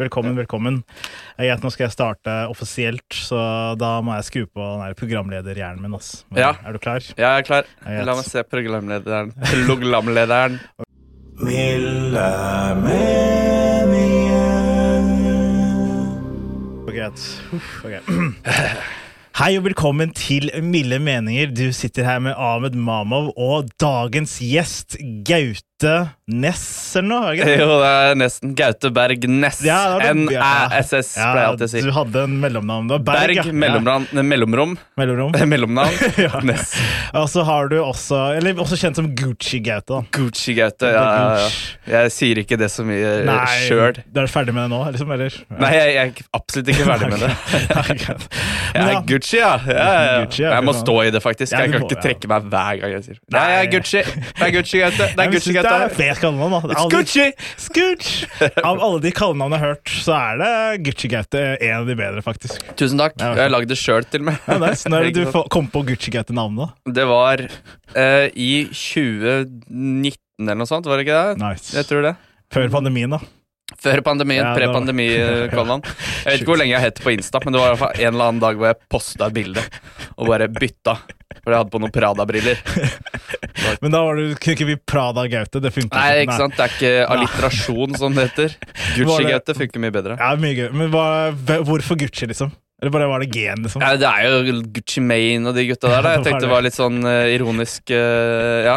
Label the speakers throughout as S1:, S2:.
S1: Velkommen, velkommen. Jeg vet, nå skal jeg starte offisielt, så da må jeg skru på den der programlederhjernen min. ass. Men,
S2: Ja.
S1: Er du klar?
S2: Jeg er klar.
S1: Jeg vet.
S2: La meg se programlederen. Programlederen.
S1: Ok, Greit. Uff, ok. Hei og velkommen til Milde meninger. Du sitter her med Ahmed Mamov og dagens gjest Gaute Ness, eller noe? er det ikke det?
S2: Jo, det er nesten Gaute Berg Næss.
S1: Ja, det var det- ja.
S2: NæSS, pleier jeg alltid å si.
S1: Du hadde en mellomnavn. Det var Berg,
S2: Berg,
S1: ja.
S2: mellomnavn, nei, mellomrom,
S1: Ja, mellomrom. Ja.
S2: mellomnavn, Ness.
S1: Og så har du også, eller også kjent som Gucci-Gaute. da.
S2: Gucci Gaute. Ja, ja, ja. Jeg sier ikke det så mye
S1: Nei,
S2: sjøl.
S1: Er du ferdig med det nå, liksom? Eller?
S2: Nei, jeg, jeg er absolutt ikke ferdig med det. Jeg er
S1: Men, ja.
S2: Gucci, ja. ja, ja, ja.
S1: Gucci, ja,
S2: Jeg må
S1: fy faen.
S2: stå i det, faktisk.
S1: Ja,
S2: Jeg
S1: du
S2: kan
S1: må,
S2: ikke
S1: ja.
S2: trekke meg hver gang jeg sier Nei, jeg er
S1: Nei.
S2: Gucci. Det er Gucci Gaute. Det
S1: Nei,
S2: er
S1: men
S2: Gucci
S1: synes Det er
S2: Gaute.
S1: flere kallenavn, da. Det er
S2: It's
S1: aldri-
S2: Gucci!
S1: Scooch! Av alle de kallenavnene jeg har hørt, så er det Gucci-Gaute en av de bedre, faktisk.
S2: Tusen takk.
S1: Ja, ok.
S2: Jeg har lagd det sjøl, til og med.
S1: Ja, nice. Når er det
S2: Ikke
S1: du
S2: sant?
S1: får- kom på Gucci-Gaute-navnet,
S2: Det var eh, i 2019 eller noe sånt, var det ikke det?
S1: da? Nice.
S2: Jeg tror det.
S1: Før pandemien, da.
S2: Før pandemien,
S1: Ja, det var-
S2: pre-pandemi, eh, Kollan. Jeg vet ikke hvor lenge jeg het på Insta, men det var i hvert fall en eller annen dag hvor jeg posta et bilde og bare bytta. For jeg hadde på noen Prada-briller.
S1: Men da var du, kunne ikke vi Prada Gaute. Det funket
S2: Nei, ikke sant? Det er ikke alliterasjon, som det heter.
S1: Var det-
S2: Gucci-gaute funker mye bedre.
S1: Ja, mye gøy. Men hva, hv- hvorfor Gucci, liksom? Eller bare var det G-en, liksom?
S2: Ja, det er jo Gucci Mane og de gutta der. Da.
S1: Det
S2: Jeg
S1: var
S2: tenkte det var litt sånn eh, ironisk. eh, ja.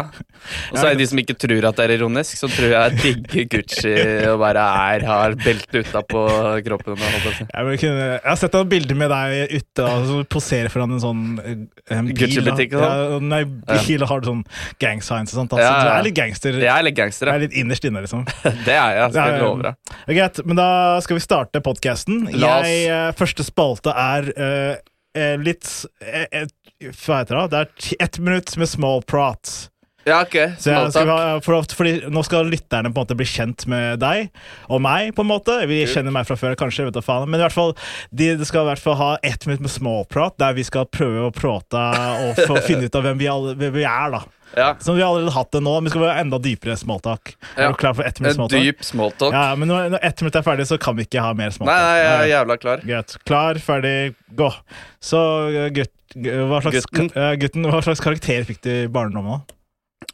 S2: Og så er det de som ikke tror at det er ironisk, så tror jeg digger Gucci og bare er, har belte utapå kroppen. Og holdt på å si.
S1: Jeg, vil kunne, jeg har sett et bilde med deg ute og så poserer foran en sånn eh, en bil. da.
S2: Gucci-butikk og sånn?
S1: Ja, nei, bil og har sånn gang signs og sånt. Altså.
S2: Ja,
S1: Du
S2: ja.
S1: er litt gangster.
S2: Jeg er litt gangster,
S1: Jeg
S2: ja.
S1: er litt innerst inne, liksom.
S2: Det er jeg. Skal jeg love deg.
S1: Ja, ja. Greit, men da skal vi starte podkasten.
S2: La oss.
S1: Første spalte er eh, eh, litt eh, eh, Hva heter det? da? Det er ti- ett minutt med small prat.
S2: Ja, ok.
S1: Så jeg skal
S2: Smalltalk.
S1: ha, for, fordi nå skal lytterne på en måte bli kjent med deg og meg. på en måte Vi kjenner meg fra før, kanskje. vet du faen Men i hvert fall de, de skal i hvert fall ha ett minutt med småprat, der vi skal prøve å prate og få finne ut av hvem vi, alle, hvem vi er. da
S2: Ja.
S1: Som vi har allerede hatt det nå, men vi skal være enda dypere småtak. Er
S2: Ja.
S1: du klar for ett minutt
S2: En
S1: småtak?
S2: dyp smalltalk.
S1: Ja, men når, når ett minutt er ferdig, så kan vi ikke ha mer
S2: Nei,
S1: småtak.
S2: nei, jeg er jævla klar.
S1: Greit. Klar, ferdig, gå. Så eh, gutt, hva slags,
S2: Gutten.
S1: eh, gutten, hva slags karakter fikk du i barndommen? da?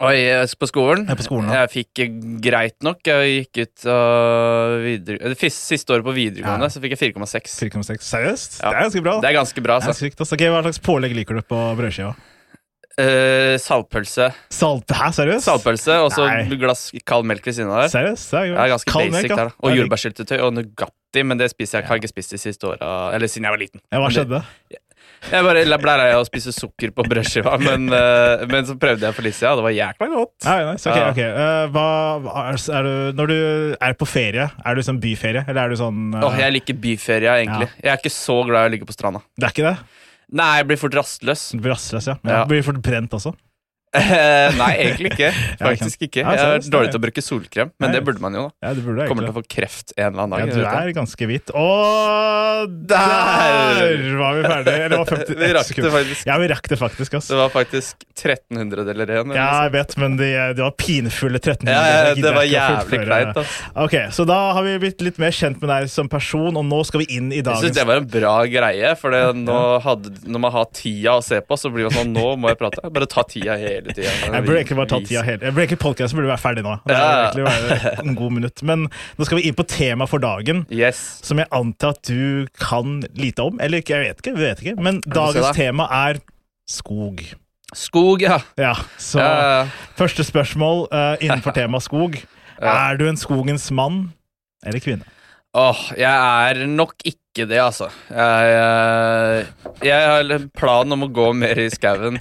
S2: Oi, jeg er på skolen?
S1: Ja, på skolen, ja.
S2: Jeg fikk eh, greit nok. Jeg gikk ut av videre... eh, fis- Siste året på videregående,
S1: Ja.
S2: så fikk jeg 4,6.
S1: 4,6. Seriøst?
S2: Ja.
S1: Det er ganske bra. da.
S2: Det er ganske bra,
S1: Det er
S2: altså.
S1: sykt, altså. Ok, Hva slags pålegg liker du på brødskiva?
S2: Eh, saltpølse.
S1: Salt, Hæ, seriøst?
S2: Saltpølse og så
S1: Nei.
S2: glass kald melk ved siden av der.
S1: Seriøst? Det er,
S2: Det er ganske
S1: Kald melk,
S2: basic
S1: ja.
S2: der. da.
S1: Det
S2: Og
S1: er digg.
S2: jordbærsyltetøy og Nugatti, men det spiser jeg har jeg ikke spist de siste åra. Eller siden jeg var liten.
S1: Ja, hva
S2: Men det-
S1: skjedde?
S2: Jeg bare la- blæra jeg å spise sukker på brødskiva, men, eh, men så prøvde jeg for litt siden, og det var jækla godt.
S1: Ja, ja, nice. Ok,
S2: Ja.
S1: ok. Eh, hva, hva er, er du, når du er på ferie, er du sånn byferie, eller er du sånn eh,
S2: Åh, jeg liker byferie, egentlig. Jeg er ikke så glad i å ligge på stranda.
S1: Det er ikke det?
S2: Nei, jeg blir fort rastløs.
S1: Du blir rastløs, ja.
S2: Ja.
S1: ja. Blir fort brent også.
S2: Eh, Nei, egentlig ikke. Faktisk ikke. Jeg
S1: Mm. Ja,
S2: er
S1: seriøst,
S2: dårlig
S1: nei.
S2: til å bruke solkrem, men
S1: Nei.
S2: det burde man jo, da.
S1: Ja, du burde
S2: Kommer til
S1: egentlig
S2: å få kreft en eller annen dag.
S1: ja,
S2: jeg
S1: du
S2: vet det.
S1: er ganske hvit. Og der var vi ferdige! Eller det var 50
S2: Vi rakk det
S1: sekunder.
S2: faktisk.
S1: Ja, vi rakk det faktisk, ass.
S2: Det var faktisk 1300 deler igjen.
S1: Ja, jeg vet, men de, de var pinefulle 13
S2: Ja, ja,
S1: Jeg
S2: det var
S1: gidder ikke å
S2: jævlig
S1: fullføre.
S2: kleint. ass.
S1: Ok, så da har vi blitt litt mer kjent med deg som person, og nå skal vi inn i
S2: Jeg
S1: dagens
S2: syns det var en bra greie, for det, nå hadde, når man har tida å se på, så blir man sånn Nå må jeg prate. Bare ta tida hele tida.
S1: Jeg burde egentlig bare ta tida hele Jeg burde egentlig podcasten burde være ferdig nå. Det
S2: Ja.
S1: er egentlig bare en god minutt Men nå skal vi inn på temaet for dagen,
S2: Yes.
S1: som jeg antar at du kan lite om. Eller ikke, jeg vet ikke. jeg vet ikke Men
S2: se
S1: dagens
S2: da.
S1: tema er skog.
S2: Skog, ja.
S1: Ja, så
S2: ja, ja.
S1: første spørsmål eh, innenfor tema skog.
S2: Ja.
S1: Er du en skogens mann eller kvinne?
S2: Åh, jeg er nok ikke det, altså. Jeg, jeg, jeg har en plan om å gå mer i skauen.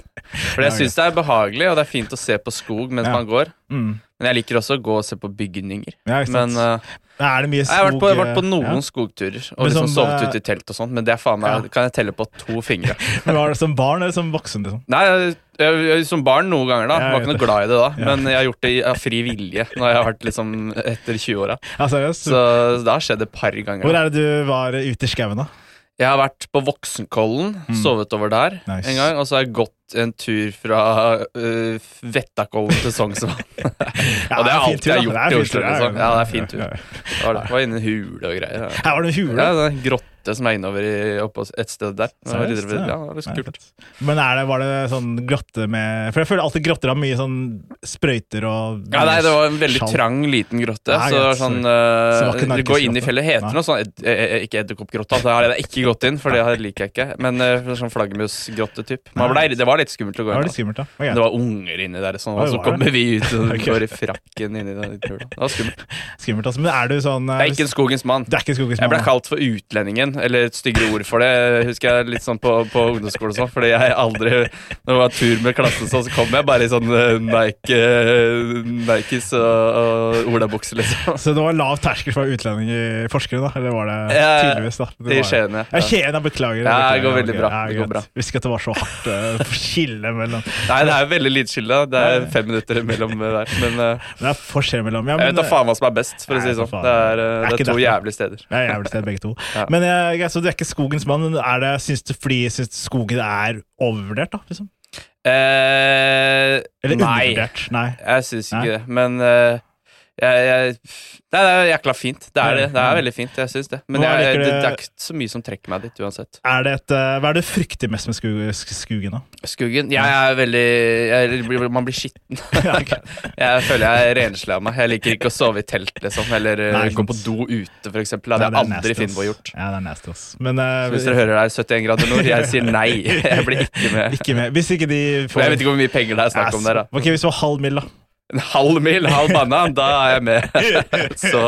S2: For jeg
S1: Ja,
S2: syns det er behagelig, og det er fint å se på skog mens
S1: Ja.
S2: man går.
S1: Mm.
S2: Men jeg liker også å gå og se på bygninger.
S1: Ja, ikke sant?
S2: Men eh,
S1: er det mye
S2: jeg har vært på, jeg har vært på
S1: eh,
S2: noen
S1: ja.
S2: skogturer og
S1: Men
S2: liksom
S1: som,
S2: sovet
S1: eh,
S2: ute i telt og sånt, men det er faen meg,
S1: Ja.
S2: kan jeg telle på to fingre.
S1: Men Var det som barn eller som voksen? liksom?
S2: Nei, jeg, jeg, jeg, som barn noen ganger, da.
S1: Ja, jeg
S2: var ikke
S1: vet
S2: noe glad i det da.
S1: Ja.
S2: Men jeg har gjort det i- av fri vilje når jeg har vært liksom etter 20-åra.
S1: Ja, seriøst?
S2: Så det har skjedd et par ganger.
S1: Hvor
S2: da.
S1: er det du var eh, ute i skauen, da?
S2: Jeg har vært på Voksenkollen, sovet over der
S1: Mm. Nice.
S2: en gang. Og så har jeg gått en tur fra øh, Vettakollen til Sognsvann. og
S1: er
S2: det er
S1: fin
S2: alt
S1: tur,
S2: jeg har
S1: da. Det er
S2: gjort i
S1: fin
S2: Oslo.
S1: tur, ja, ja,
S2: Liksom. Ja, det er fin tur.
S1: ja, ja.
S2: Det var, det var inne i en hule og greier. Ja.
S1: Her var det en hule.
S2: Ja, det er en grotte som er innover i, oppå et sted der. Det var litt-
S1: Seriøst?
S2: ja, det var litt
S1: Nei,
S2: kult.
S1: fett. Men er det, var det sånn grotte med For jeg føler alltid grotter har mye sånn sprøyter og
S2: Ja, nei, det var en veldig
S1: Skjall.
S2: trang, liten grotte.
S1: Ja,
S2: så det
S1: greit,
S2: var sånn
S1: så det var ikke
S2: øh, Du går inn i
S1: narkisgrotte.
S2: fjellet. Heter
S1: Nei.
S2: det noe sånn ed, eh, eh, Ikke edderkoppgrotta, det har jeg ikke gått inn, for det liker jeg ikke. Men øh, sånn flaggermusgrotte-typ. Man
S1: Nei.
S2: ble- Det var litt skummelt å
S1: Det
S2: gå inn.
S1: var
S2: da.
S1: litt skummelt, da. Ok.
S2: Men Det var unger inni der, sånn,
S1: Oi,
S2: og så
S1: var det?
S2: kommer vi ut og
S1: Ok.
S2: går i frakken inni den hula. Det var skummelt.
S1: skummelt altså. Men er du sånn eh,
S2: Jeg er ikke en skogens mann.
S1: Du er ikke en skogens
S2: Jeg ble
S1: mann, da?
S2: kalt for utlendingen, eller et styggere ord for det, husker jeg litt sånn på, på ungdomsskolen og sånn, fordi jeg aldri Når det var tur med klassen, sånn, så kom jeg bare i sånn eh, Nike, eh, Nikes og, og olabukse, liksom.
S1: Så det var lav terskel for utlending i Forskere, da? Eller var det
S2: Eh,
S1: tydeligvis, da? Det
S2: I
S1: var-
S2: Skien, ja.
S1: Ja, Skien, jeg beklager. jeg
S2: Ja, det
S1: beklager,
S2: går veldig
S1: ok.
S2: bra,
S1: Ja,
S2: det går
S1: greit.
S2: bra.
S1: Visste ikke at det var så hardt uh, skille mellom Det
S2: Nei, det er veldig lite skyld, da. Det er fem minutter mellom hver. Men eh,
S1: er forskjell mellom ja,
S2: jeg vet da
S1: eh,
S2: faen hva som er best, for å si det
S1: Nei,
S2: sånn.
S1: for faen.
S2: Det er, eh,
S1: Det er
S2: det
S1: ikke
S2: er to
S1: derfor.
S2: jævlige steder.
S1: Ja, jeg vil si begge to.
S2: Ja.
S1: Men eh, greit, så du er ikke skogens mann. men Er det, syns du fordi syns du skogen er overvurdert, da? Liksom?
S2: Eh,
S1: Eller
S2: nei.
S1: undervurdert? Nei.
S2: Jeg syns ikke
S1: Nei?
S2: det, men eh, jeg, jeg, Nei, det er jækla fint. Det er det. Det
S1: Ja.
S2: er veldig fint, jeg syns det. Men
S1: Hva
S2: jeg,
S1: liker
S2: det,
S1: du-
S2: det er ikke så mye som trekker meg dit, uansett.
S1: Er det et, eh, hva er det du frykter mest med sku, sk- skogen, da?
S2: Skuggen Jeg er veldig jeg, blir- Man blir skitten.
S1: Ja, ok.
S2: Jeg føler jeg rensler av meg. Jeg liker ikke å sove i telt, liksom. Eller eh,
S1: Nei,
S2: gå
S1: sant.
S2: på do ute, for eksempel. Det
S1: Nei,
S2: hadde jeg
S1: nasty,
S2: aldri
S1: ass.
S2: funnet på å gjort.
S1: Ja, det er nasty, ass. Men eh,
S2: Hvis dere hører det er 71 grader nord, jeg sier nei. Jeg blir ikke med.
S1: ikke med. Hvis ikke de
S2: For jeg vet ikke hvor mye penger det er snakk om der, da.
S1: Ok, Hvis det var halv mil, da.
S2: En halv mil, halv banan, da er jeg med. Så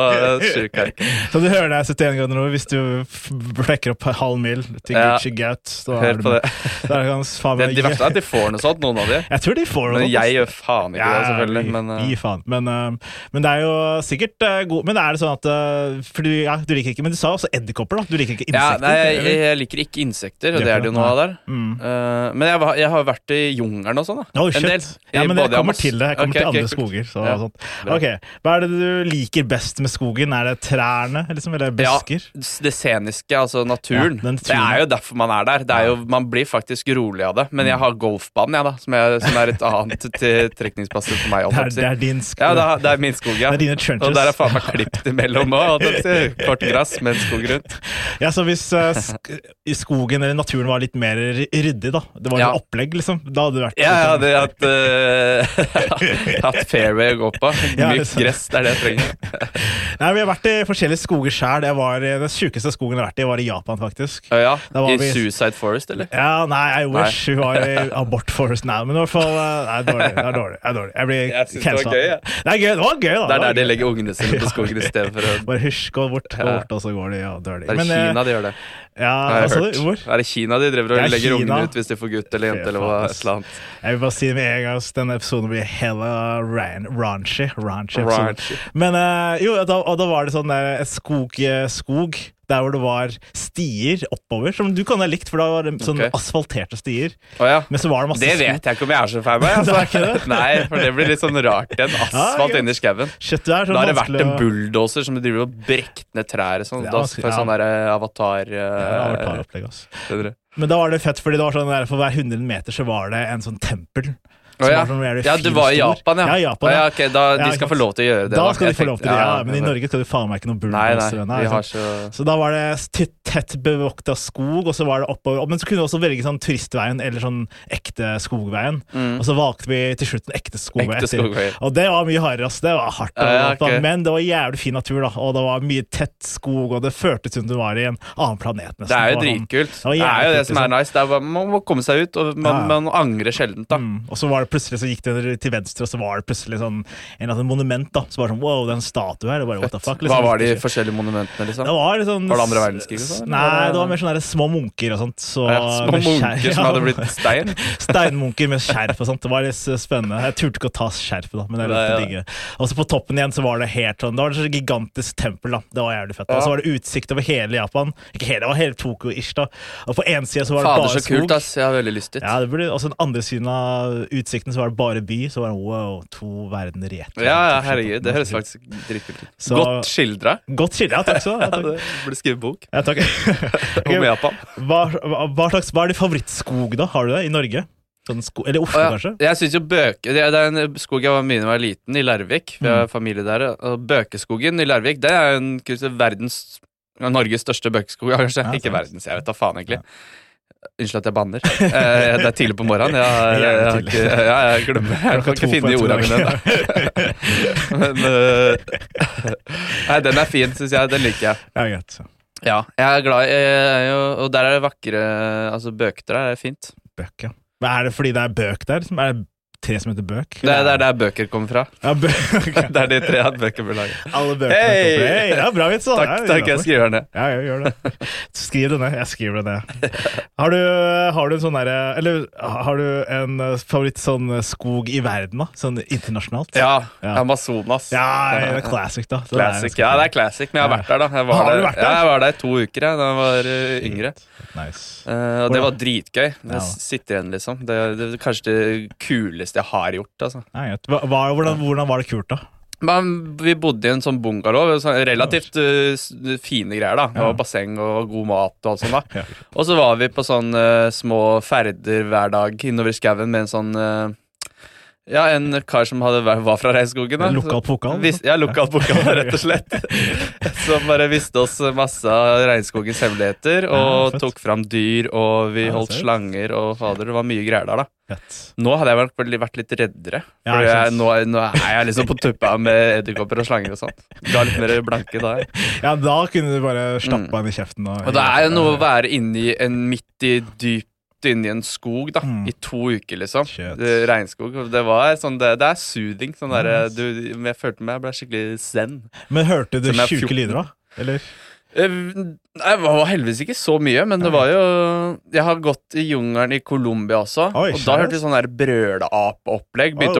S2: sjuk er jeg ikke.
S1: Så du hører det er 71 grader nå. Hvis du f- flekker opp halv mil til
S2: Ja.
S1: Gucci Gout, så er
S2: Hør
S1: du
S2: på
S1: med.
S2: det.
S1: Da er det ganske faen
S2: Det,
S1: meg
S2: de verste er at de får noe sånt, noen av de.
S1: Jeg tror de får
S2: Men
S1: noe.
S2: jeg gjør faen ikke det, selvfølgelig.
S1: gi-
S2: Men
S1: gi
S2: eh,
S1: faen. Men, eh, men det er jo sikkert eh, god Men er det sånn at eh, For du, ja, du liker ikke Men du sa også edderkopper, da. Du liker ikke
S2: ja,
S1: insekter?
S2: nei, jeg,
S1: eller?
S2: jeg liker ikke insekter,
S1: Gjør
S2: og det
S1: ikke
S2: er det jo
S1: det,
S2: noe av der.
S1: Mm.
S2: Eh, men jeg, var- jeg har vært i jungelen og sånn, da.
S1: Oh, shit. Ja,
S2: I
S1: men
S2: både
S1: jeg kommer
S2: Amaz-
S1: til det. Jeg kommer
S2: Ok, ok,
S1: til andre
S2: kult.
S1: skoger. Så, sånn
S2: Ja.
S1: sånt.
S2: Bra.
S1: Ok, Hva er det du liker best med skogen? Er det trærne, liksom? Eller busker?
S2: Ja, s- det sceniske, altså naturen.
S1: Ja, den
S2: det er jo derfor man er der. Det er jo, man blir faktisk rolig av det. Men
S1: Mm.
S2: jeg har golfbanen, jeg, da, som, jeg, som er et annet tiltrekningsplasser for meg.
S1: Det
S2: holdt
S1: er,
S2: jeg på å si.
S1: det er din skog.
S2: Ja, det er, det er min skog, ja.
S1: Det er dine trenches.
S2: Og der er faen meg klipt imellom òg. Kort gress med en skog rundt.
S1: Ja, så hvis eh, sk i skogen eller naturen var litt mer ry- ryddig, da Det var jo
S2: Ja.
S1: opplegg, liksom. Da hadde det vært
S2: Ja, jeg hadde hatt, eh, hatt fairway å gå på.
S1: Ja, det er
S2: Mykt
S1: sant.
S2: gress, det er det jeg trenger.
S1: Nei, Vi har vært i forskjellige skoger sjøl. eh, Den sjukeste skogen jeg har vært i, var i Japan, faktisk.
S2: Ja, ja.
S1: Da var
S2: I
S1: vi-
S2: Suicide Forest, eller?
S1: Ja, nei, I wish hun var i Abort Forest now, men i hvert fall eh, Nei, dårlig. Det er dårlig. Det er dårlig. Jeg blir
S2: Jeg synes det var
S1: cancela.
S2: gøy, ja.
S1: Det er gøy, det var gøy, da.
S2: Det er
S1: var
S2: der de
S1: gøy.
S2: legger ungene sine på skogen i stedet for å
S1: Bare hysj, gå bort, gå
S2: Ja.
S1: bort, og så går de og dør de.
S2: Det er i
S1: Men, eh,
S2: Kina de gjør det.
S1: Ja,
S2: har
S1: hva
S2: jeg
S1: sa
S2: hørt.
S1: du? Hvor?
S2: Det er i Kina de driver
S1: Det er
S2: og legger
S1: Kina.
S2: ungene ut hvis de får gutt eller jente
S1: Fy
S2: eller hva,
S1: faen, ass.
S2: et eller annet.
S1: Jeg vil bare si det med en gang ass, denne episoden blir hella ran, raunchy. raunchy episode.
S2: Raunchy.
S1: Men eh, jo, da, og da var det sånn der, et skog, eh, skog der hvor det var stier oppover, som du kan ha likt, for da var det sånn
S2: Ok.
S1: asfalterte stier.
S2: Å ja.
S1: Men så var det masse
S2: Det vet jeg ikke om jeg er så fan av.
S1: Det er
S2: Altså.
S1: ikke det.
S2: Nei, for det blir litt sånn rart igjen. Asfalt
S1: greit.
S2: inni skauen.
S1: Shit, det er sånn
S2: Da har det vært
S1: vanskelig
S2: en
S1: å-
S2: bulldoser som driver og brekket ned trær og sånn.
S1: Det er
S2: Da
S1: vanskelig,
S2: får
S1: ja.
S2: sånn der eh, avatar...
S1: Ja, det var et
S2: eh,
S1: par opplegg, altså. ass.
S2: skjønner du?
S1: Men da var det fett, fordi det var sånn der, for hver 100 meter så var det en sånn tempel. som
S2: Å, ja.
S1: var sånn very
S2: ja, du var i
S1: feel-stor.
S2: Japan, ja.
S1: Ja, i Japan,
S2: Å,
S1: ja.
S2: ja, ok, da,
S1: Ja,
S2: de
S1: ikke
S2: skal
S1: sant.
S2: få lov til å gjøre det.
S1: Da
S2: da.
S1: skal du
S2: Jeg
S1: få lov
S2: tenkte-
S1: til det,
S2: ja,
S1: ja, men i Norge skal du faen meg ikke noe
S2: Nei, nei.
S1: burgerrestaurant.
S2: Vi har så
S1: Så da var det t- tett bevokta skog, og så var det oppover Men så kunne du også velge sånn turistveien eller sånn ekte skogveien. Og så valgte vi til slutt den ekte skogveien.
S2: Mm. Ekte
S1: etter.
S2: skogveien.
S1: Og det var mye hardere, ass. Det var hardt. å
S2: Ja, ja,
S1: gå på,
S2: ok.
S1: Men det var jævlig fin natur, da. Og det var mye tett skog, og det føltes som du var i en annen planet, nesten.
S2: Det er jo
S1: var sånn-
S2: dritkult.
S1: var
S2: Det er jo
S1: jævlig
S2: det
S1: kult,
S2: som er
S1: liksom.
S2: nice. Det er, bare- man må komme seg ut, og
S1: Ja.
S2: man, man angrer sjeldent, da.
S1: Mm. Og så var det plutselig så gikk det til venstre, og så var det plutselig sånn en eller annen monument. da Så var det sånn, wow, det er en statue her. Og bare, what the fuck
S2: Hva
S1: liksom.
S2: var de forskjellige monumentene, liksom?
S1: Det var, litt sånn,
S2: Var det andre verdenskrig og sånn, eller?
S1: Nei, det var mer sånne der små munker og sånt. Så,
S2: Ja, små
S1: med skjer-
S2: munker som
S1: ja.
S2: hadde blitt stein?
S1: Steinmunker med skjerf og sånt. Det var litt spennende. Jeg turte ikke å ta skjerfet, da, men jeg lot
S2: Nei,
S1: det ligge. Og så på toppen igjen så var det helt sånn Det var et sånt gigantisk tempel, da. Det var jævlig fett. Og
S2: Ja.
S1: så var det utsikt over hele Japan. Ikke hele, det var hele Tokyo-ish, da. Og på én side så var det
S2: Fader,
S1: bare
S2: så kult,
S1: skog.
S2: ass. Jeg har veldig lyst dit.
S1: Ja, det burde, også den andre siden av utsikten så var det bare by. Så var det wow, to verdener i ett.
S2: Ja, ja, herregud. Det høres faktisk dritkult ut.
S1: Så-
S2: Godt skildra.
S1: Godt skille, ja. Takk skal du
S2: Ja,
S1: ha.
S2: det burde skrevet bok
S1: Ja, takk.
S2: om Japan.
S1: Hva, hva, hva slags, hva er din favorittskog, da? Har du det i Norge? Sånn sko, eller Oslo,
S2: Å, ja.
S1: kanskje?
S2: Jeg synes jo bøke Det er det er en skog jeg var mye da jeg var liten, i Larvik. Vi
S1: Mm.
S2: har familie der. Og Bøkeskogen i Larvik, det er jo en kurs- verdens Norges største bøkeskog, ja, kanskje.
S1: Ja,
S2: Ikke
S1: sant.
S2: verdens, jeg vet da faen, egentlig. Unnskyld at jeg banner. Eh, det er tidlig på morgenen. Jeg, jeg, jeg, har
S1: Jævlig
S2: ikke-
S1: tidlig.
S2: ja, jeg glemmer Jeg kan
S1: Klokka to
S2: ikke
S1: på
S2: finne i ordene mine.
S1: ettermiddagen.
S2: da. Men eh, Nei, den er fin, syns jeg. Den liker jeg.
S1: Ja, greit.
S2: Ja, jeg er glad i jeg er jo- Og der er det vakre Altså, bøker der er fint.
S1: Bøk, ja. Men er det fordi det er bøk der? Som er det tre som heter bøk?
S2: Det er det er der bøker kommer fra.
S1: Ja, bøk.
S2: Det er de tre at bøker blir laget.
S1: Alle bøkene
S2: Hei!
S1: kommer. Hei, ja, bra vits, da. Ja, det
S2: Takk,
S1: er
S2: takk,
S1: bra.
S2: jeg skriver den ned.
S1: Ja, ja, gjør det. Skriv det ned. Jeg skriver det ned. Har du, har du en sånn derre Eller har du en eh, favoritt sånn eh, skog i verden, da? Sånn internasjonalt?
S2: Ja,
S1: Ja.
S2: Amazonas.
S1: Ja, ja, det er classic, da. Det er
S2: Classic,
S1: ganske
S2: ja, det er classic, men jeg har vært der, da. Jeg var
S1: Har du
S2: der,
S1: vært der?
S2: Ja, jeg var der i to uker jeg, da jeg var eh, yngre.
S1: Nice.
S2: Eh, og det var
S1: Hvordan?
S2: dritgøy.
S1: Ja.
S2: Det sitter igjen, liksom. Det det er kanskje det kuleste jeg har gjort. altså.
S1: Ja, greit. Hva- hva- hvordan, hvordan var det kult, da?
S2: Men vi bodde i en sånn bungalow. Sånn relativt eh, s- fine greier. da Det var basseng og god mat og alt sånt. da
S1: Ja.
S2: Og så var vi på sånn eh, små ferder hver dag innover skauen med en sånn eh, ja, en kar som hadde, vært- var fra regnskogen. da.
S1: Lokal
S2: Så-
S1: pokal, liksom?
S2: Vis, ja, lokal pokal, rett og slett. Som bare viste oss masse av regnskogens hemmeligheter,
S1: Ja,
S2: og
S1: fett.
S2: tok fram dyr, og vi
S1: Ja,
S2: holdt
S1: seriøst.
S2: slanger, og fader, det var mye greier der, da.
S1: Fett.
S2: Nå hadde jeg vært, veldig- vært litt reddere.
S1: Ja,
S2: for
S1: ikke
S2: jeg,
S1: sant.
S2: nå, er- nå er jeg liksom på tuppa med edderkopper og slanger og sånt. Ga litt mer blanke da. jeg.
S1: Ja, da kunne du bare slappa av i kjeften. Og,
S2: Mm. Og det er jo noe å være inni en midt i dypt inni en skog da
S1: Mm.
S2: i to uker, liksom.
S1: Shit.
S2: Det- Regnskog. og Det, var sånn, det, det er soothing. Sånn der, du, jeg følte meg jeg ble skikkelig zen.
S1: Men hørte du
S2: Som jeg er
S1: sjuke
S2: 14.
S1: lyder, da? Eller?
S2: Eh, Nei, Det var heldigvis ikke så mye, men det var jo Jeg har gått i jungelen i Colombia også,
S1: Oi,
S2: og da hørte vi
S1: seriøst?
S2: sånn der brøleapeopplegg. Begynte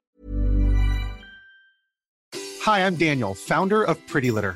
S3: Hi, I'm Daniel, founder of Pretty Litter.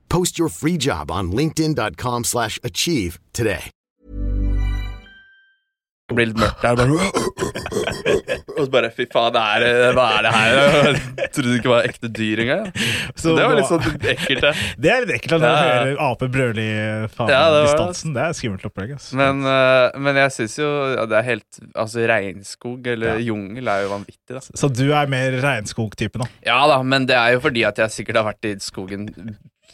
S4: Post your free job on linkedin.com/achieve slash achieve today.
S2: Det blir litt mørkt der. Bare. Og så bare Fy faen, det er, hva er det her? Jeg trodde det ikke var ekte dyr engang.
S1: Så
S2: det var
S1: da-
S2: litt sånn ekkelt, det.
S1: Det er litt ekkelt da, når
S2: Ja, ja.
S1: du hører ape brøle i faen,
S2: Ja, det var-
S1: distansen. Det er skummelt opplegg. altså. ass.
S2: Men, eh, men jeg syns jo ja, det er helt Altså, regnskog eller
S1: Ja.
S2: jungel er jo vanvittig, da.
S1: Så du er mer regnskogtypen, da?
S2: Ja da, men det er jo fordi at jeg sikkert har vært i skogen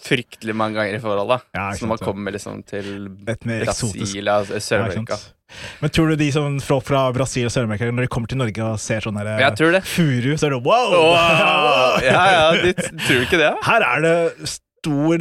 S2: fryktelig mange ganger i forhold, da.
S1: Ja, ikke
S2: så når man
S1: sant, ja.
S2: kommer liksom til
S1: Et mer eksotisk-
S2: Brasil, altså,
S1: Ja, ikke
S2: Sør-Amerika.
S1: sant? Men tror du de som folk fra Brasil og Sør-Amerika Når de kommer til Norge og ser sånn der,
S2: Jeg tror det.
S1: furu, så er det wow!
S2: Åh, ja, ja, de t- tror du ikke det? da?
S1: Her er det s- stor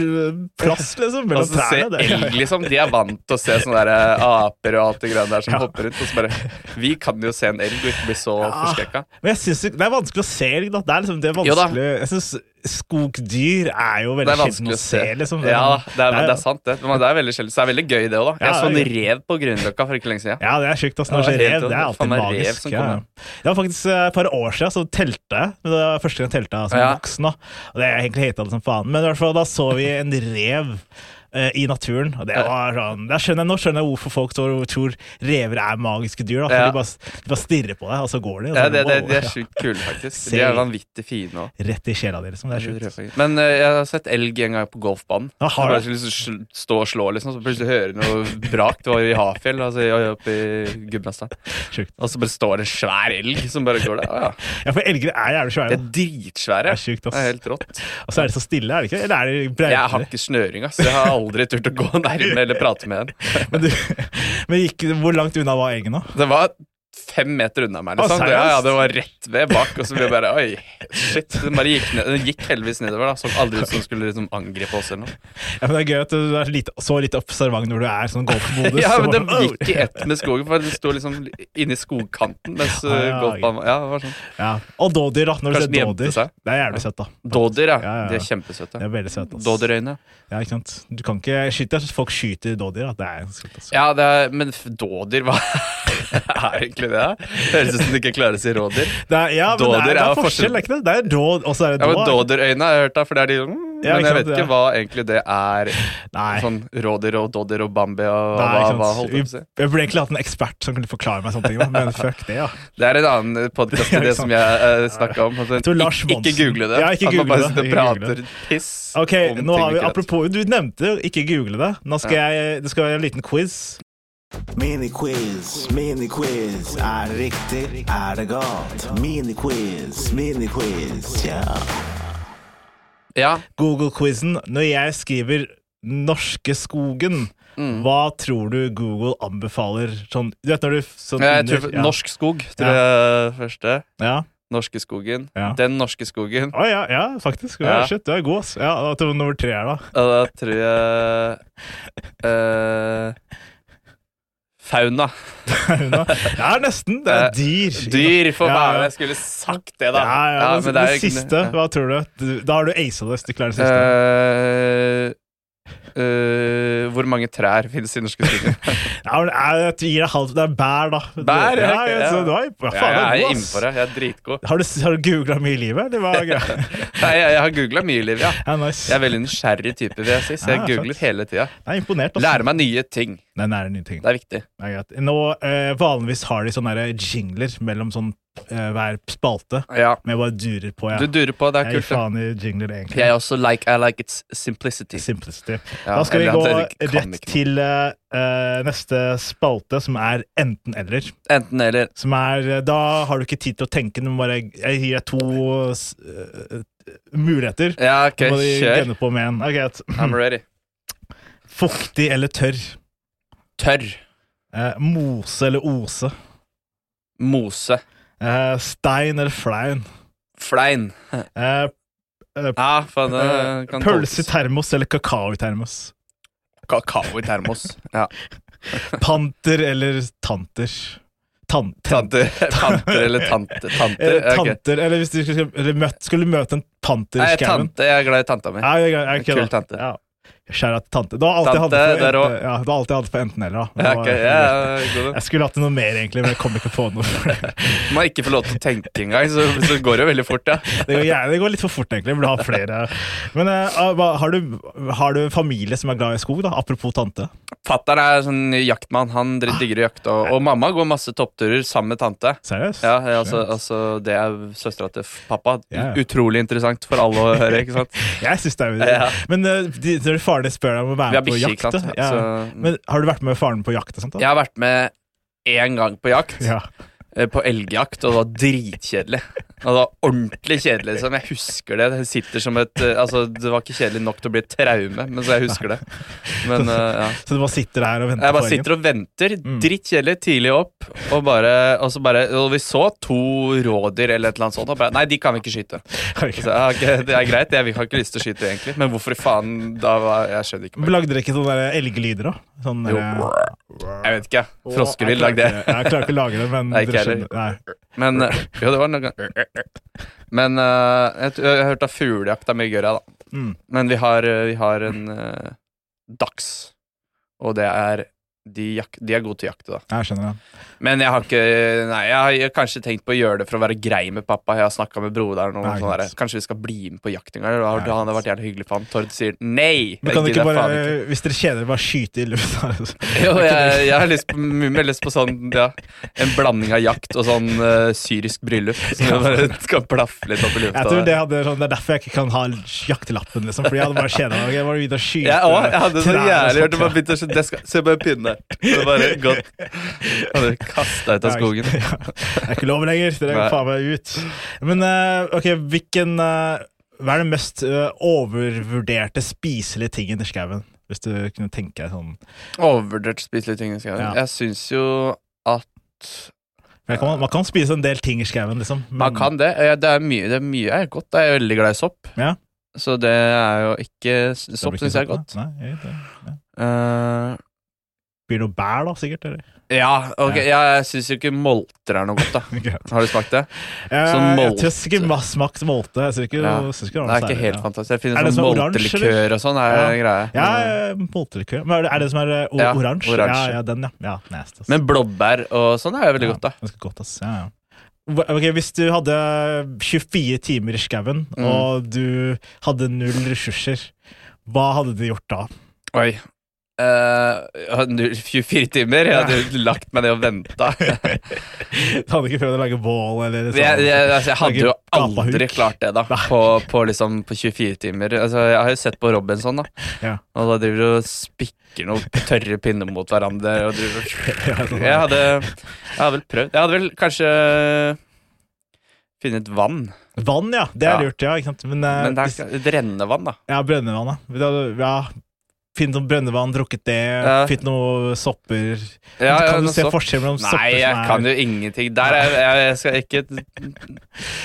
S1: plass liksom, mellom
S2: Altså, se
S1: trærne.
S2: elg,
S1: Det.
S2: liksom. De er vant til å se sånne der, eh, aper og alt det greiene der som hopper rundt. Og så bare Vi kan jo se en elg og ikke bli så forskrekka.
S1: Ah, Men jeg synes ikke- det er vanskelig å se elg, da. Det er liksom det
S2: Jo da.
S1: vanskelig Jeg synes skogdyr er jo
S2: Det
S1: veldig
S2: er
S1: sjelden
S2: vanskelig å
S1: å
S2: se.
S1: se, liksom.
S2: Ja, da, det, er,
S1: jo-
S2: det er sant, det. Men det er veldig sjelden. Så det er veldig gøy, det òg, da. Jeg
S1: Ja,
S2: så
S1: det
S2: en
S1: er
S2: rev på Grünerløkka for ikke lenge siden.
S1: Ja, det er sjukt. ass. Når
S2: Ja,
S1: det
S2: det
S1: skjer
S2: er
S1: rev,
S2: helt-
S1: det er
S2: faen
S1: alltid
S2: meg rev
S1: magisk.
S2: som
S1: Ja.
S2: kommer.
S1: Det var faktisk eh, et par år siden så telte jeg. Men det var første gang jeg telta som
S2: Ja.
S1: voksen. Da. Og det er egentlig hata det som faen. Men i hvert fall da så vi en rev eh, i naturen. Og det var sånn da skjønner jeg, Nå skjønner jeg hvorfor folk tror, tror rever er magiske dyr. Da, for
S2: Ja.
S1: de, bare, de bare stirrer på deg, og så går de. Og
S2: Ja,
S1: så,
S2: det, det,
S1: sånn wow.
S2: de er sjukt kule, faktisk. De
S1: Se.
S2: er vanvittig fine òg.
S1: Rett i sjela di, liksom. Det er sjukt.
S2: Men eh, jeg har sett elg en gang på golfbanen.
S1: Ja,
S2: Jeg
S1: har
S2: bare
S1: du?
S2: skulle liksom sl- stå og slå, liksom, så plutselig hører jeg noe brak. Det var i Hafjell, altså i- oppe i Gudbrandsdalen.
S1: sjukt.
S2: Og så bare står det en svær elg som bare går der. Å, ja.
S1: Ja, for elger er jævlig
S2: De
S1: svære.
S2: er
S1: da.
S2: dritsvære.
S1: Det er sjukt, ass.
S2: Det er helt rått.
S1: Og så er de så stille, er de ikke? Eller er de breitere?
S2: Jeg har ikke snøring, ass. Jeg har aldri turt å gå nærme eller prate med en.
S1: Men, du, men gikk, hvor langt unna var elgen, da?
S2: Det var fem meter unna meg,
S1: Å,
S2: liksom.
S1: seriøst?
S2: ja, ja, det var rett ved bak, og så ble jeg bare Oi, shit. Den bare gikk, ned, den gikk heldigvis nedover, da. Så aldri ut som den skulle liksom angripe oss eller noe.
S1: Ja, men Det er gøy at du er lite, så litt observant når du er sånn golfmodus.
S2: Ja,
S1: så
S2: men
S1: bare
S2: den
S1: sånn, «Au!»
S2: gikk i ett med skogen, for den sto liksom inni skogkanten mens uh,
S1: Ja, ja,
S2: golfbanen var- Ja, det var sånn.
S1: ja. Og dådyr, da. Når du
S2: Kanskje
S1: ser
S2: den gjemte
S1: dådyr.
S2: seg?
S1: Det er jævlig søtt, da.
S2: Dådyr, ja.
S1: Ja, ja, ja.
S2: De er
S1: Det
S2: kjempesøte.
S1: er veldig søtt. ass.
S2: Dådyrøyne.
S1: Ja, ikke sant? Du kan ikke skyte Folk skyter dådyr. da. Det er ganske søtt. ass.
S2: Ja, det er, men f- dådyr, hva er egentlig det? da? Høres ut som du ikke klarer å si rådyr.
S1: Det er, ja, men
S2: Dådyr
S1: det er, det er
S2: er jo forskjell-
S1: forskjell, er ikke det? Det er dåd, og så er det
S2: Ja, men
S1: dåd.
S2: Dådyrøyne har jeg hørt, da, for det er de mm,
S1: Ja,
S2: Men
S1: ikke
S2: jeg
S1: sant,
S2: vet ikke
S1: ja.
S2: hva egentlig det er.
S1: Nei.
S2: Sånn rådyr og dodder og Bambi og
S1: Nei,
S2: hva,
S1: ikke sant.
S2: hva holdt jeg på å
S1: Vi-
S2: si.
S1: Jeg burde egentlig hatt en ekspert som kunne forklare meg sånne ting. da, Men fuck det, ja.
S2: Det er en annen podkast
S1: Ja,
S2: til det
S1: ikke
S2: som
S1: sant.
S2: jeg uh, snakka om. Altså,
S1: tror Lars
S2: ikke, ikke
S1: Monsen-
S2: google det.
S1: Ja, ikke
S2: at man
S1: google
S2: bare
S1: det,
S2: sitter og
S1: ikke google
S2: prater piss
S1: Ok,
S2: om
S1: nå
S2: ting
S1: har vi,
S2: ikke vet.
S1: Apropos, du nevnte jo ikke google det. Nå skal jeg, Det skal være en liten quiz.
S5: Miniquiz, miniquiz. Er det riktig? Er det galt? Miniquiz, miniquiz, ja.
S2: Ja,
S1: Google-quizen. Når jeg skriver 'Norske skogen',
S2: Mm.
S1: hva tror du Google anbefaler? Sånn, du vet når du sånn
S2: men jeg tror
S1: under- ja.
S2: Norsk skog, tror
S1: Ja.
S2: jeg eh, første.
S1: Ja.
S2: Norske skogen.
S1: Ja.
S2: Den norske skogen.
S1: Å, ja, ja, faktisk. Ja,
S2: Ja.
S1: Shit, du er god, ass. Ja, da tror jeg nummer tre er da.
S2: Og da tror jeg eh, Fauna.
S1: Det er nesten. Det
S2: Eh,
S1: er dyr.
S2: Dyr, for
S1: Ja,
S2: faen.
S1: ja.
S2: Jeg skulle sagt det, da.
S1: Ja, ja,
S2: Ja,
S1: men
S2: men det er
S1: det
S2: jo ikke-
S1: siste,
S2: ja.
S1: hva tror du? du? Da har du aced det hvis du klarer det siste.
S2: Eh, eh, hvor mange trær finnes i norske skogen?
S1: ja, men, eh, jeg, jeg gir deg halvt. Det er bær, da.
S2: Bær,
S1: ja,
S2: ok,
S1: ja,
S2: ja.
S1: så du er, ja, faen,
S2: Ja,
S1: du er
S2: jeg
S1: god,
S2: er
S1: ass.
S2: innpå det. Jeg er dritgod.
S1: Har du, har du googla mye i livet, eller hva er greia?
S2: Nei, jeg, jeg har googla mye i livet, ja.
S1: Ja, nice.
S2: Jeg er veldig nysgjerrig type, vil jeg si, så jeg
S1: Ja,
S2: googler
S1: fett.
S2: hele tida.
S1: Jeg er imponert. ass.
S2: Lærer meg nye ting.
S1: Den er en ny ting.
S2: Det er viktig.
S1: Det er greit. Nå, eh, vanligvis har de sånne der jingler mellom sånn eh, hver spalte.
S2: Ja.
S1: Men jeg bare durer på,
S2: Du
S1: jeg.
S2: durer på, det er
S1: jeg gir
S2: kult. ja.
S1: faen i jingler, egentlig.
S2: Jeg også like, I like its simplicity.
S1: Simplicity.
S2: Ja,
S1: da skal vi
S2: eller
S1: gå
S2: at jeg kan
S1: rett
S2: ikke noe.
S1: til eh, eh, neste spalte, som er enten-eller.
S2: Enten eller.
S1: Som er eh, Da har du ikke tid til å tenke, du må bare Jeg gir deg to eh, eh, muligheter.
S2: Ja, ok,
S1: Så må du
S2: kjør.
S1: gønne på med en. Det er greit.
S2: I'm ready.
S1: Fuktig eller tørr?
S2: Tørr.
S1: Eh, mose eller ose?
S2: Mose.
S1: Eh, stein eller flein?
S2: Flein.
S1: Eh,
S2: Ja, faen, det
S1: Eh,
S2: kan
S1: Pølse i
S2: tolkes.
S1: termos eller kakao i termos?
S2: Kakao i termos. Ja.
S1: Panter eller tanter? Tan
S2: Tanter, tanter eller tante. Tanter.
S1: Eller,
S2: ok.
S1: tanter, eller hvis du skulle, eller møtt, skulle møte en panter
S2: Nei,
S1: i skauen
S2: tante. Jeg er glad i tanta mi.
S1: Ja, ja, ja, ok,
S2: Kul
S1: da.
S2: tante.
S1: Ja. Skjæra til tante. Det var alt jeg
S2: Tante,
S1: hadde for
S2: der
S1: enten-
S2: også.
S1: ja, det var alt jeg hadde for enten-eller. da.
S2: Ja,
S1: Det var-
S2: ok, ja, ja, god den.
S1: Jeg skulle hatt noe mer, egentlig, men jeg kom ikke på noe.
S2: Man ikke får lov til å tenke engang, så, så går det jo veldig fort, ja.
S1: Det går, gjerne- det går litt for fort, egentlig. Jeg Burde ha flere. Men eh, hva- har, du, har du en familie som er glad i skog, da? Apropos tante.
S2: Fattern er sånn jaktmann. Han dri- digger å jakte. Og, og mamma går masse toppturer sammen med tante.
S1: Seriøst?
S2: Ja, ja, altså, altså Det er søstera til f- pappa.
S1: Ja, ja.
S2: Utrolig interessant for alle å høre, ikke sant?
S1: Jeg syns det er
S2: Ja.
S1: Men eh, de, når faren din spør deg om å
S2: Vi
S1: være
S2: har
S1: med på
S2: bikkje,
S1: jakt
S2: ikke sant?
S1: da, ja.
S2: Så- mm.
S1: Men Har du vært med faren på jakt? og sånt da?
S2: Jeg har vært med én gang på jakt.
S1: Ja.
S2: eh, På elgjakt, og det var dritkjedelig. Ja, det var ordentlig kjedelig. Liksom. Jeg husker det. Det sitter som et eh, Altså, det var ikke kjedelig nok til å bli et traume, men så jeg husker det. Men eh, ja.
S1: Så du bare sitter her og venter
S2: Jeg bare
S1: på ringen?
S2: sitter og venter. Drittkjedelig. Tidlig opp. Og, bare, og, så bare, og vi så to rådyr eller et eller annet sånt. Og bare, nei, de kan vi ikke skyte.
S1: Kan vi ikke?
S2: Så, ja, ok, det er greit, jeg har ikke lyst til å skyte, egentlig. Men hvorfor i faen? Da var, jeg skjønner ikke.
S1: Lagde dere ikke sånne der elgelyder òg? Sånn
S2: Jo.
S1: der-
S2: Jeg vet ikke. Froskelyd
S1: Jeg klarer
S2: lagde
S1: ikke-
S2: jeg.
S1: Jeg klarer ikke å lage det, men
S2: Nei, ikke
S1: dere
S2: heller.
S1: skjønner. Nei.
S2: Men eh, Jo, det var noe Men eh, jeg, tror- jeg har hørt at fuglejakt er mye gøyere, da.
S1: Mm.
S2: Men vi har, eh, vi har en eh, dachs, og det er de, jak de er gode til å jakte, da.
S1: Jeg skjønner det.
S2: Men jeg har ikke Nei, jeg har, jeg har kanskje tenkt på å gjøre det for å være grei med pappa. Jeg har snakka med broderen og
S1: Nei,
S2: sånn der.
S1: sant.
S2: Kanskje vi skal bli med på jakt en gang? eller?
S1: Nei,
S2: Det hadde vært jævlig hyggelig for han. Tord sier nei!
S1: Men
S2: det
S1: kan du ikke
S2: gidder jeg faen
S1: bare, hvis dere kjeder dere, bare skyte i altså. lufta?
S2: ikke. Jo, jeg, jeg har lyst på, mye mer lyst på sånn ja, En blanding av jakt og sånn eh, syrisk bryllup. Som
S1: Ja.
S2: bare skal plaffe litt opp i lufta.
S1: Jeg tror det, hadde, sånn, det er derfor jeg ikke kan ha jaktelappen, liksom. Fordi jeg hadde bare kjeda meg. Jeg var ute og skyte
S2: Jeg, å, jeg hadde så
S1: trær og
S2: jævlig
S1: sånt.
S2: hørt det bare begynte å skje- det skal- Se på den pinnen der. Det bare gått. Hadde kasta ut av skogen.
S1: Ja, det er ikke lov lenger. Dere
S2: Nei.
S1: kan faen meg ut. Men eh, ok, hvilken eh, Hva er den mest eh, overvurderte spiselige tingen i skauen? Hvis du kunne tenke deg sånn
S2: Overvurdert spiselige ting. Skal jeg.
S1: Ja.
S2: jeg syns jo at
S1: man kan, man kan spise en del ting i skauen, liksom. men-
S2: Eh. Man kan det. Eh, Det er mye, det er mye er godt. Jeg er veldig glad i sopp.
S1: Ja.
S2: Så det er jo ikke
S1: Det blir
S2: Sopp
S1: ikke
S2: syns sånn, jeg er
S1: sopp,
S2: godt.
S1: da. Nei, jeg vet det. Ja.
S2: Eh,
S1: Blir det noe bær, da, sikkert? Eller?
S2: ja, ok,
S1: Ja.
S2: jeg syns jo ikke molter er noe godt, da.
S1: Greit.
S2: Har du smakt det?
S1: Eh,
S2: Sånn
S1: jeg tror jeg
S2: molte.
S1: sikkert ma- smakt molte. Jeg synes ikke,
S2: Ja.
S1: jeg synes ikke
S2: Det
S1: var noe
S2: er ikke
S1: særlig,
S2: helt
S1: ja.
S2: fantastisk. Det
S1: Er det
S2: finnes
S1: som
S2: sånn
S1: er oransje, liksom?
S2: moltelikør og sånn, er
S1: Ja.
S2: greie.
S1: Ja, eh, moltelikør. Men er det- er det som er eh, o-
S2: Ja,
S1: oransje?
S2: oransje.
S1: Ja, ja, den, ja. ja nasty, ass.
S2: Mm. Men blåbær og sånn er jo veldig
S1: Ja,
S2: godt, da.
S1: Ganske godt, ass. Ja, ja. Hva- ok, hvis du hadde 24 timer i skauen,
S2: Mm.
S1: og du hadde null ressurser, hva hadde du gjort da?
S2: Oi. Eh, nu- 24 timer? Jeg hadde jo lagt meg ned og venta. jeg,
S1: Du hadde ikke prøvd å lage bål eller sånn?
S2: jeg, altså, jeg hadde jo
S1: Gapahuk.
S2: aldri klart det, da. På, på, liksom, på 24 timer. Altså, jeg har jo sett på Robinson, da.
S1: Ja.
S2: Og da driver du og spikker noen tørre pinner mot hverandre. Og driver og
S1: sånn.
S2: jeg, hadde, jeg hadde vel prøvd. Jeg hadde vel kanskje funnet vann.
S1: Vann, ja. Det er
S2: Ja.
S1: lurt, ja. Ikke sant? Men, eh,
S2: Men det
S1: hvis-
S2: er et rennevann, da.
S1: ja, brønnevann, da. Vi hadde- Ja. Fint noe brønnevann, drukket det,
S2: Ja.
S1: fint noe sopper
S2: Ja, ja,
S1: Kan du
S2: noe
S1: se
S2: sånt.
S1: forskjell mellom sopper
S2: Nei, jeg
S1: som
S2: kan
S1: er
S2: jo ingenting. Der er, jeg, jeg skal ikke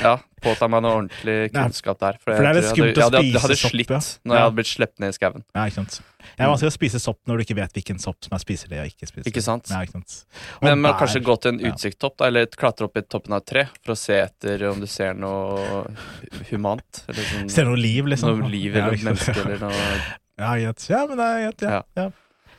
S2: ja, påta meg noe ordentlig
S1: Nei.
S2: kunnskap der. For,
S1: For det er litt
S2: jeg tror jeg
S1: skummelt å
S2: hadde- jeg hadde-
S1: spise
S2: Jeg
S1: sopp, ja.
S2: hadde slitt når jeg
S1: Ja.
S2: hadde blitt sluppet ned i skauen.
S1: ja, ikke sant? Det er vanskelig å spise sopp når du ikke vet hvilken sopp som er spiselig og ikke spiselig.
S2: Ikke sant?
S1: Nei, ikke sant? Og
S2: Men man
S1: bær.
S2: kan kanskje gå til en
S1: Ja.
S2: utsiktstopp, da, eller klatre opp i toppen av et tre for å se etter om du ser noe humant. Eller sånn,
S1: Ser noe liv, liksom.
S2: noe liv
S1: Ja,
S2: eller
S1: ikke
S2: noe menneske
S1: sant?
S2: eller noe
S1: Ja, greit. Ja, men det er greit. Ja.
S2: Ja.
S1: Ja.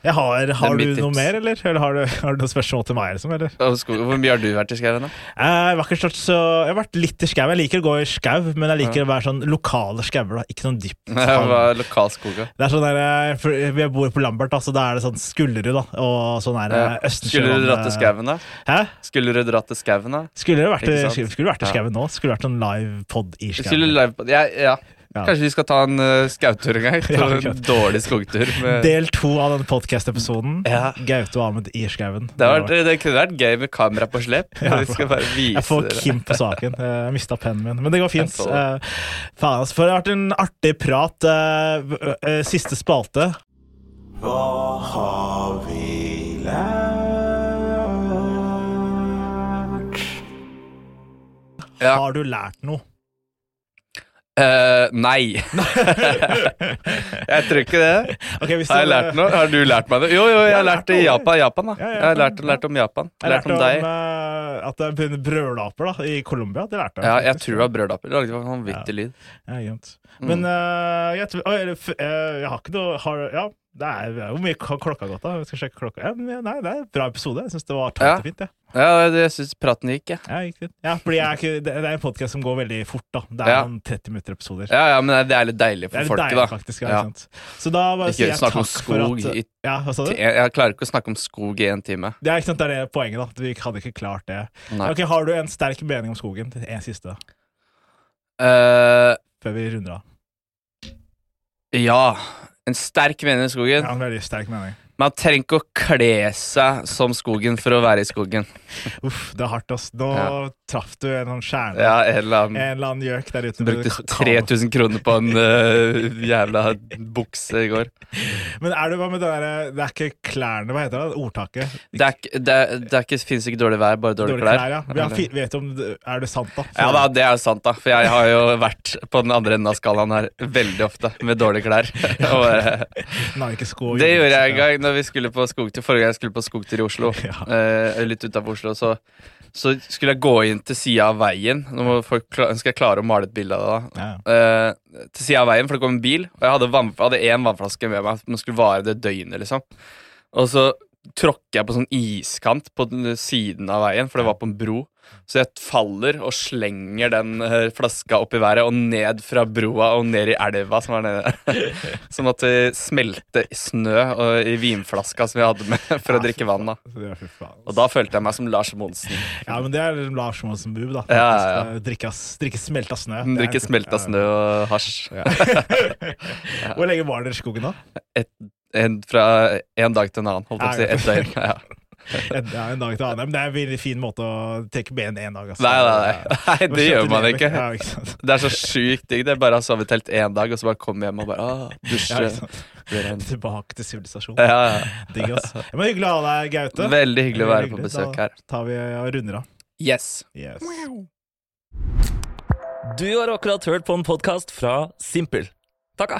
S1: Jeg har, har
S2: mitt
S1: du noe
S2: tips.
S1: mer, eller? Eller har du, har du noen spørsmål til meg? Liksom, eller? Eh,
S2: Og sko- Hvor mye har du vært i skauen, da?
S1: Jeg, har ikke stått så, jeg har vært litt i skau. Jeg liker å gå i skau, men jeg liker å være sånn lokale skauer. da. Ikke sånn dypt.
S2: Jeg var lokalskoga.
S1: Det er sånn der, eh, for Vi bor på Lambert, da, så da er det sånn Skullerud da, og sånn der eh, Østensjø.
S2: Skulle du dratt til skauen, da?
S1: Hæ?
S2: Skulle du dratt til skauen, da?
S1: Skulle det vært,
S2: Ikke sant?
S1: skulle det vært i
S2: Ja.
S1: skauen nå? Skulle det vært en live pod i
S2: Vi
S1: skauen?
S2: Skulle live på ja, ja.
S1: Ja.
S2: Kanskje vi skal ta en uh, skautur en gang?
S1: Ja,
S2: Ta en
S1: greit.
S2: dårlig skogtur. Med, det,
S1: Del to av den podcast-episoden.
S2: Ja.
S1: Gaute og Ahmed i skauen.
S2: har vært, det kunne vært gøy med kamera på slep.
S1: Ja,
S2: vi skal bare vise
S1: Jeg får
S2: dere.
S1: Kim på saken. Eh, Jeg mista pennen min, men det går fint.
S2: Jeg så
S1: Eh, Faen, altså. For det har vært en artig prat. eh, v- eh, Siste spalte.
S5: Hva har vi lært?
S2: Ja.
S1: Har du lært noe?
S2: Eh, nei. jeg tror ikke det.
S1: Ok, hvis
S2: Har jeg
S1: du-
S2: lært noe? Har du lært meg noe? Jo, jo, jeg har lært det i
S1: noe.
S2: Japan. Japan da.
S1: Ja,
S2: Jeg har
S1: Japan.
S2: lært, lært om Japan.
S1: Jeg
S2: Lært om deg.
S1: eh, at det er brølaper da, i Colombia. Det lærte jeg.
S2: Ja, jeg
S1: faktisk.
S2: tror Mm. det var brødaper. Det lagde en vanvittig lyd.
S1: Ja, ikke sant. Men eh, jeg, tror, oi, eller, f- eh, jeg har ikke noe har, Ja, det er hvor mye har klokka gått, da? Jeg skal sjekke klokka. Ja, men, nei, det er en bra episode. Jeg syns det var tatt
S2: Ja.
S1: og fint. Jeg.
S2: Ja, det- jeg syns praten gikk, jeg.
S1: Ja, ikke sant. ja, fordi jeg er ikke, det det er en podkast som går veldig fort. da Det er
S2: Ja.
S1: noen 30 minutter episoder.
S2: Ja, ja, men det er litt deilig
S1: Det
S2: for
S1: er litt
S2: folket,
S1: deilig,
S2: da.
S1: faktisk. Ja,
S2: Ja.
S1: ikke sant? Så da bare
S2: Ikke
S1: sier jeg
S2: snakk
S1: takk
S2: om
S1: for
S2: skog
S1: at
S2: i-
S1: Ja, hva sa du?
S2: Jeg, jeg klarer ikke å snakke om skog i en time.
S1: Det er ikke sant, det er det poenget, da. at Vi hadde ikke klart det.
S2: Nei.
S1: Ok, Har du en sterk mening om skogen? En siste, da,
S2: Eh,
S1: før vi runder av.
S2: ja. En sterk mening i skogen.
S1: Ja, en veldig sterk mening.
S2: Man trenger ikke å kle seg som skogen for å være i skogen.
S1: Uff, det er hardt, ass. Nå
S2: Ja.
S1: traff du en sånn kjerne.
S2: Ja, en eller annen
S1: En eller annen gjøk der ute.
S2: Brukte
S1: Ka- ka-
S2: 3000 kroner på en eh, jævla bukse i går.
S1: Men er det hva med det derre Det er ikke klærne, hva heter det? Ordtaket?
S2: Det, er, ikke- det, er- det er ikke, finnes ikke dårlig vær, bare dårlige
S1: Dårlige
S2: klær.
S1: klær, ja. Vi har fi, vet du om det- Er det sant, da?
S2: Ja da, det er jo sant, da. For jeg har jo vært på den andre enden av skalaen her veldig ofte med dårlige klær. Og, eh,
S1: Nike-sko og
S2: det gjorde jeg en
S1: joggebuks, ja.
S2: gang når vi skulle på skogtur. Forrige gang jeg skulle på skogtur i Oslo,
S1: Ja.
S2: eh, litt utafor Oslo, så, så skulle jeg gå inn til sida av veien. Nå må folk, kla- skal jeg klare å male et bilde av det, da.
S1: Ja.
S2: Eh, til sida av veien, for det kom en bil, og jeg hadde, vann, hadde én vannflaske med meg. Den skulle vare det døgnet, liksom. Og så tråkker jeg på sånn iskant på den siden av veien, for det var på en bro. Så jeg faller og slenger den eh, flaska opp i været og ned fra broa og ned i elva som var nede der. Som måtte smelte i snø og i vinflaska som jeg hadde med for å drikke vann. da
S1: Så det er fy faen.
S2: Og da følte jeg meg som Lars Monsen.
S1: Ja, men det er liksom Lars Monsen-boob, da.
S2: Ja, ja,
S1: Faktisk, eh, Drikke, s- drikke smelta snø. Det er-
S2: Drikke smelta snø og hasj.
S1: Hvor lenge var dere i skogen, da?
S2: Et, en, fra en dag til en annen, holdt jeg på å si. Et døgn. Ja.
S1: En, ja, en dag til annen. Men det er en veldig fin måte å tenke ben én dag, altså.
S2: Nei, nei, nei. Nei, det gjør man ikke.
S1: Ja, ikke sant?
S2: Det er så sjukt digg. Det er bare å sove i telt én dag, og så bare komme hjem og bare ah,
S1: Ja,
S2: dusje.
S1: ikke sant?
S2: bli ren.
S1: Tilbake til sivilisasjonen.
S2: Ja, ja.
S1: Digg, ass. Ja, Men hyggelig å ha deg, Gaute.
S2: Veldig hyggelig å være på
S1: Hyggelig.
S2: besøk
S1: Da
S2: her.
S1: tar vi og runder av.
S2: Yes.
S1: Yes.
S6: Du har akkurat hørt på en podkast fra Simpel. Takka!